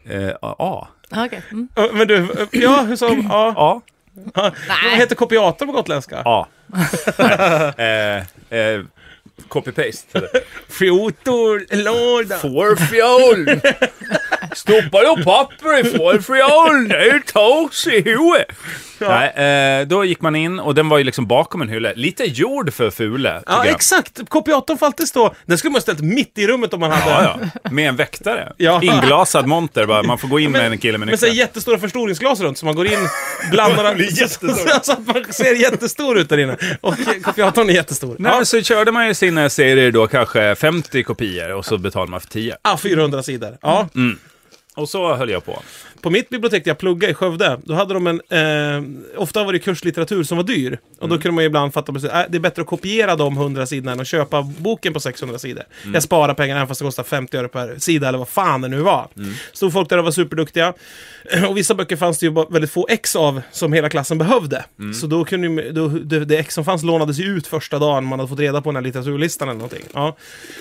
Eh, A. Ah, okej. Mm. Ja, Men du, ja, hur som, ja. A. Vad heter kopiator på gotländska? A. [LAUGHS] Nej, eh, eh, Copy-paste. Fjotor, låda. Fårfjol! Stoppa då papper i fårfjolen, det är tås i huvudet! Nej, eh, då gick man in och den var ju liksom bakom en hylla. Lite jord för Fule, tycker Ja, jag. exakt. Kopiatorn får alltid stå. Den skulle man ha ställt mitt i rummet om man hade. Ja, ja. Med en väktare. Ja. Inglasad monter bara. Man får gå in med en kille med Men så här nyckeln. jättestora förstoringsglas runt, så man går [LAUGHS] in, blandar... [LAUGHS] så, så att man ser jättestor ut där inne. Och kopiatorn är jättestor. [LAUGHS] Nej, Ja, men så körde man ju sina serier då kanske 50 kopior och så betalade man för 10. ah, 400 sidor. Ja. Och så höll jag på. På mitt bibliotek där jag pluggade i Skövde, då hade de en... Eh, ofta var det kurslitteratur som var dyr. Och då kunde man ju ibland fatta beslut, äh, det är bättre att kopiera de 100 sidorna än att köpa boken på 600 sidor. Jag sparar pengarna även fast det kostar 50 öre per sida eller vad fan det nu var. Stod folk där och var superduktiga. [CLEARS THROAT] Och vissa böcker fanns det ju bara väldigt få ex av som hela klassen behövde. Så då kunde ju, då, det, det ex som fanns lånades ju ut första dagen man hade fått reda på den här litteraturlistan eller någonting. Ja.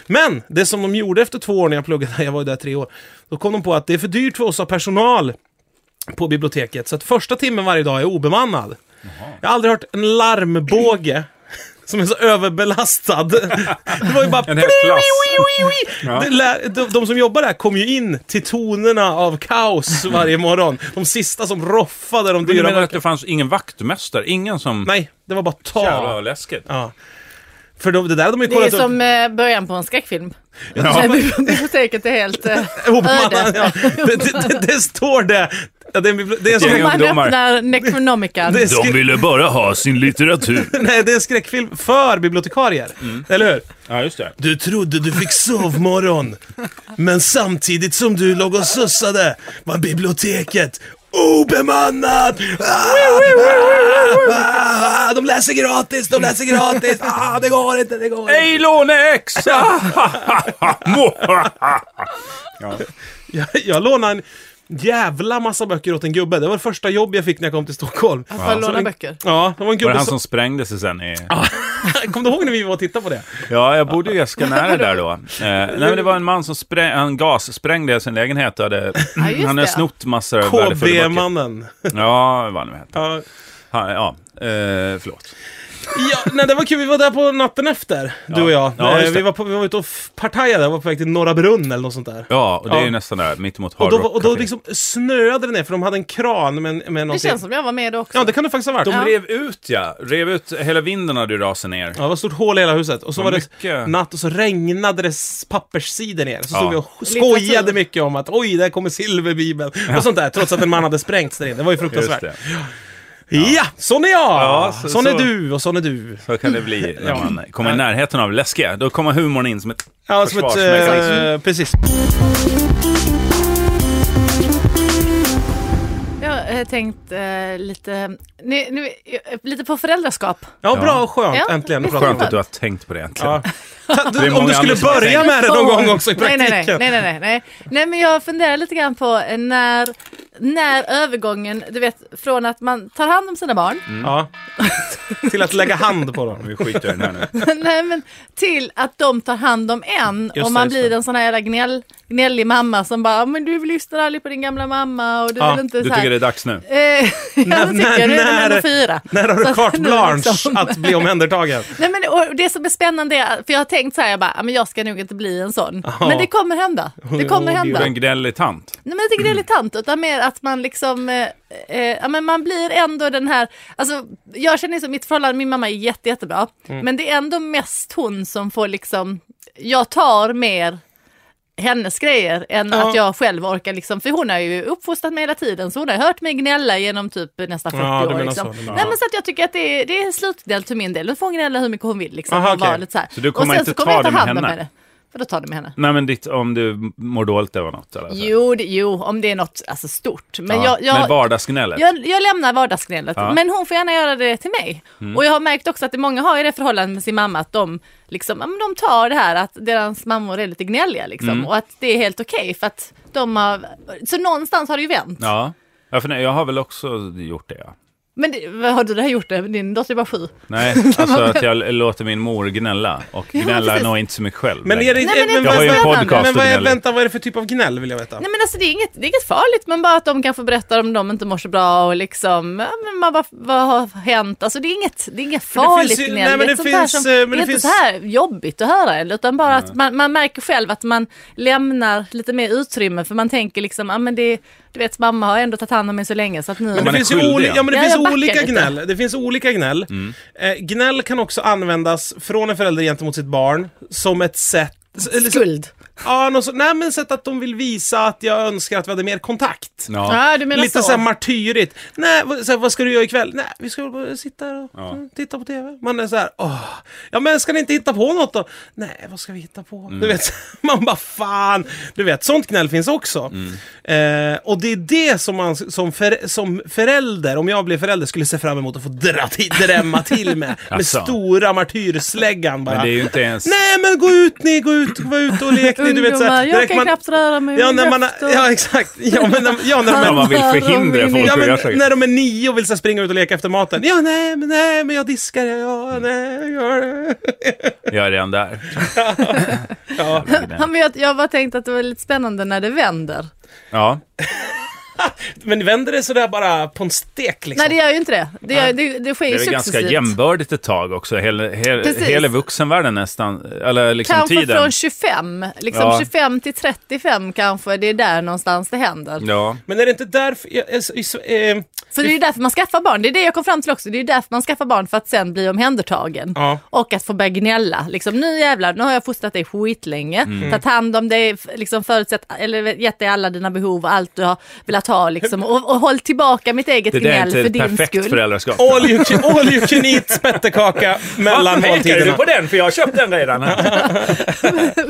Men det som de gjorde efter två år när jag pluggade, [LAUGHS] jag var ju där tre år, då kom de på att det är för dyrt för oss att ha personal på biblioteket. Så att första timmen varje dag är obemannad. Jag har aldrig hört en larmbåge [CLEARS THROAT] som är så överbelastad. [LAUGHS] Det var ju bara... En hel klass. Ja. Det lär, de, de som jobbar där kom ju in till tonerna av kaos varje morgon. De sista som roffade de Men du dyra... menar att verk- det fanns ingen vaktmästare? Ingen som... Nej, det var bara Jävlar vad tal. läskigt. Ja. För de, det där hade de ju Det är kollat upp. [LAUGHS] som eh, början på en skräckffilm. Ja. Biblioteket är [LAUGHS] helt... eh, Hopmannan, öde. ja. Det, det, det, det står det. Ja, det, är- det är som Gäng Man ungdomar. öppnar Necronomicon. Det är skrä- ville bara ha sin litteratur. [LAUGHS] Nej, det är en skräckfilm för bibliotekarier. Mm. Eller hur? Ja, just det. Du trodde du fick sovmorgon, men samtidigt som du låg och sussade var biblioteket obemannat! Ah, de läser gratis, de läser gratis! Ah, det går inte, det går inte! Ej låneäxa! Jag, jag lånade en jävla massa böcker åt en gubbe. Det var det första jobb jag fick när jag kom till Stockholm. För att Så låna en- böcker. Ja, det var en Var det gubbe han som... som sprängde sig sen i... [LAUGHS] Kom du ihåg när vi var och tittade på det? Ja, jag bodde ju ganska nära där då. Eh, nej, men det var en man som spräng, han gassprängde sin lägenhet och hade, just han hade det. snott massor av värdefulla böcker. KB-mannen. Ja, vad han nu hette. Ja. Han, ja, eh, förlåt. Ja, nej, det var kul. Vi var där på natten efter, du och jag. Ja, Eh, just det. vi, var på, vi var ute och f- partajade, var på väg till Norra Brunn eller något sånt där. Ja, och det är ju Ja. nästan där, mittemot och Hard då, Rock var- och då Café. liksom snöade det ner, för de hade en kran med, med Det någonting. känns som jag var med då också. Ja, det kan det faktiskt ha varit. De ja. rev ut ja, rev ut, hela vinden hade ju rasat ner. det var ett stort hål i hela huset. Och så var Vad det mycket. natt och så regnade det s- papperssidor ner. Så stod Ja. vi och skojade Litteratur. mycket om att oj, där kommer silverbibeln. Och sånt där, trots att en man hade sprängts där inne. Det var ju Just fruktansvärt. det. Ja. sån är jag! Ja, så- sån är så- du och sån är du. Så kan det bli när Ja. man kommer i närheten av läskiga. Då kommer humorn in som ett Ja, som ett... försvarsmekanism. Eh, precis. Jag har eh, tänkt eh, lite, nu, nu, eh, lite på föräldraskap. Ja, bra och skönt. Ja, Äntligen. det är att prata om Skönt det. att du har tänkt på det äntligen. Ja. Ta, Det är du, om många du skulle andra som börja tänker. med det någon gång också i Nej, praktiken. Nej, nej, nej, nej, nej, nej. Nej, men jag funderar lite grann på eh, när, när övergången, du vet, från att man tar hand om sina barn, [LAUGHS] Ja. Till att lägga hand på dem. Vi skiter i den [LAUGHS] här nu. nej, men, till att de tar hand om en Mm. Just och det, man just blir det. en sån här jävla gnäll, gnällig mamma som bara, men du lyssnar aldrig på din gamla mamma och du Ja, vill inte Du så här. tycker det är dags nu? Eh, [LAUGHS] ja, När- det tycker när- jag. Nu är den när- ändå fyra. [LAUGHS] När har Så du att carte nu blanche liksom- att bli [LAUGHS] omhändertagen? Nej, men, det- och det som är spännande är, för jag har tänkt så här, jag bara, "Ah, men jag ska nog inte bli en sån. Men det kommer hända. Det kommer Jo, det Du hända. är en Nej, gnällig tant. men jag tycker Mm. det är lite tant, utan mer att man liksom, eh, eh, ja, men man blir ändå den här, alltså jag känner som mitt förhållande, min mamma är jätte, jättebra, Mm. men det är ändå mest hon som får liksom, jag tar mer hennes grejer än Ja. att jag själv orkar liksom, för hon har ju uppfostrat mig hela tiden så hon har hört mig gnälla genom typ nästan 40 Ja, du år. menar Liksom. så, du menar Nej så. men så att jag tycker att det är, det är slutdel till min del, då får hon gnälla hur mycket hon vill liksom. Aha, och vara okej. lite så, här. Så du kommer och sen inte så kommer jag ta det ta med hand om henne? henne? För då tar det med henne. Nej men ditt, om du mår dåligt över något eller? så. Jo, det, jo, om det är något alltså, stort. Men Typ. Ja, jag, jag, men vardagsgnället. jag, jag lämnar vardagsgnället, Ja. Mm. men hon får gärna göra det till mig. Och jag har märkt också att det många har i det förhållandet med sin mamma att de, liksom, ja, men de tar det här att deras mammor är lite gnälliga liksom, Mm. och att det är helt okej för att de har, så någonstans har det ju vänt. Ja. Ja, för nej, jag har väl också gjort det ja. Men det, vad har du det här gjort det? Din dotter är bara sju. [LAUGHS] Nej, alltså att jag låter min mor gnälla. Och gnälla precis. nog inte så mycket själv Men är det, längre. Nej, men det Jag är har ju en spännande. podcast men vad och är, gnäller. vänta, vad är det för typ av gnäll vill jag veta? Nej men alltså det är, inget, det är inget farligt, men bara att de kan få berätta om de inte mår så bra och liksom, ja, men man bara, vad har hänt? Alltså det är inget, det är inget det farligt finns ju- gnäll. nej, men Det är det inte sånt här finns, som- eh, men det är det inte finns- så här jobbigt att höra eller, utan bara att man, man märker själv att man lämnar lite mer utrymme för man tänker liksom, ja men det, du vet mamma har ändå tagit hand om mig så länge så att nu... Men man det är finns, ju skyldig, oli- ja. ja, men det Ja, jag finns backar olika lite. gnäll. Det finns olika gnäll. Mm. Eh, gnäll kan också användas från en förälder gentemot sitt barn som ett sätt... Eller, så, Skuld. ja, något så, nej, men ett sätt att de vill visa att jag önskar att vi hade mer kontakt. Ja. Ja, du menar Lite så. såhär martyrigt. Nej, vad, såhär, vad ska du göra ikväll? Nej, vi ska bara sitta här och Ja. mm, titta på TV. Man är såhär, åh. Ja men ska ni inte hitta på något då? Nej, vad ska vi hitta på? Du Mm. vet, [LAUGHS] man bara fan. Du vet, sånt gnäll finns också. Mm. Eh, och det är det som man som, för, som förälder, om jag blev förälder, skulle se fram emot att få dra till, drämma till [LAUGHS] med. med Alltså. stora martyrsläggan bara. Men det är ju inte ens... Nej men gå ut ni, gå ut, gå ut och lek ni. Du vet, Ungdomar, såhär, jag direkt kan knappt röra mig Ja, med när man, höft och- ja exakt. Ja, men, när- ja, [LAUGHS] när När man, man vill Handlar om förhindra min- folk Ja, att men, göra saker. när de är nio och vill så här springa ut och leka efter maten. Ja, nej, men, nej, men jag diskar. Ja, nej, jag gör det. Jag är redan där. Ja. Ja, men jag, jag bara tänkte att det var lite spännande när det vänder. Ja. Men vänder det sådär bara på en stek liksom? Nej, det gör ju inte det. Det, gör, det, det sker Det ju är väl ganska successivt. jämbördigt ett tag också, hela, hela, Precis. hela vuxenvärlden nästan. Eller liksom Kanske tiden. från 25, liksom Ja. 25 till 35 kanske, det är där någonstans det händer. Ja. Men är det inte därför... jag- jag- i Sve- eh, För det är ju därför man skaffar barn, det är det jag kom fram till också, det är ju därför man skaffar barn för att sen bli omhändertagen. Ja. Och att få börja gnälla, liksom nu jävlar, nu har jag fostrat dig skitlänge, Mm. tagit hand om dig, f- liksom förutsett, eller gett dig alla dina behov och allt du har velat ha liksom. Och, och håll tillbaka mitt eget Det där är gnäll inte för ett din perfekt skull. föräldraskap. All you, can, all you can eat spettekaka mellan Pekar du måltiderna. på den? För jag har köpt den redan. [LAUGHS]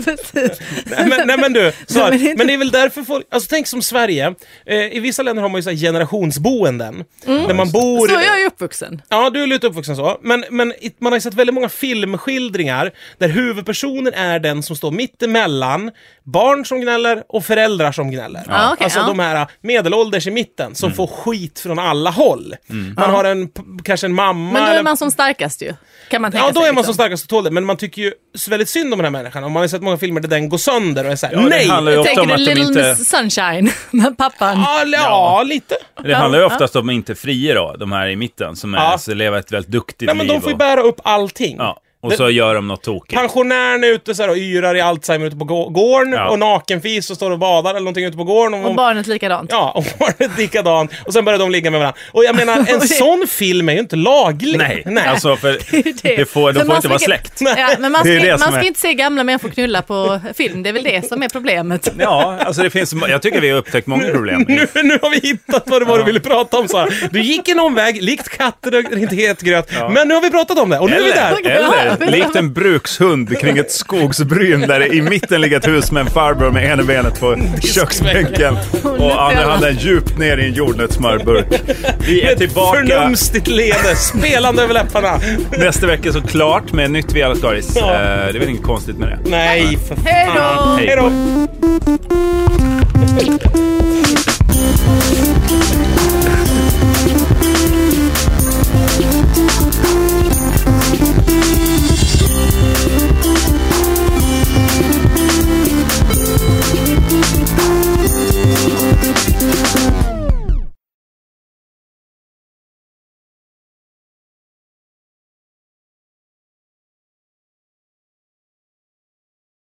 Precis. Nej men, nej, men [LAUGHS] du, så här, Nej, men det är men det är väl därför folk, alltså tänk som Sverige, eh, i vissa länder har man ju så här generationsboenden. Där man bor... Mm. Så är jag är uppvuxen. Ja, du är lite uppvuxen så. Men, men i- man har ju sett väldigt många filmskildringar där huvudpersonen är den som står mitt emellan barn som gnäller och föräldrar som gnäller. Ja, okej, alltså ja. de här medelålders i mitten Mm. som får skit från alla håll. Man har en, p- kanske en mamma Men då eller- är man som starkast ju, kan man tänka Ja, då sig, är man som liksom. starkast och tål det. Men man tycker ju s- väldigt synd om den här människan. Och man har ju sett många filmer där den går sönder och är såhär, nej! Det handlar ju ofta Tänker om du att de Little inte... Miss Sunshine [LAUGHS] med pappan? Ja, l- ja, lite. Det handlar ju oftast om inte fria då, de här i mitten, som är, Ja. så lever ett väldigt duktigt Nej, men liv. de får ju och- bära upp allting. ja. och så gör de något tokigt. Pensionären är ute så här, och yrar i Alzheimer ute på gå- gården Ja. och nakenfis och står och badar eller någonting ute på gården. Och barnet likadant. Ja, och barnet likadan. Och sen börjar de ligga med varandra. Och jag menar, en sån film är ju inte laglig. Nej, alltså för [LAUGHS] Det är ju det. det får, de Men får man inte vara ska- [LAUGHS] släkt. Ja, men man Det är ju ska, det som man ska är- inte se gamla människor knulla på film, det är väl det som är problemet. Ja, alltså det finns, jag tycker vi har upptäckt många problem. Nu, [LAUGHS] nu har vi hittat vad det var du ville prata om, Sara. Du gick en omväg, likt katter och inte het gröt. Men nu har vi pratat om det, och nu är vi [LAUGHS] där. Eller, eller likt en brukshund kring ett skogsbryn där det i mitten ligger ett hus med en farbror med ena [LAUGHS] benet på köksbänken och andra handen djupt ner i en jordnötssmörburk. Vi är tillbaka Förnumstigt leende, spelande över läpparna. nästa vecka såklart med ett nytt Viallaskaris. Eh, Det är väl inget konstigt med det. Nej, för Hej då! fan. Hej då!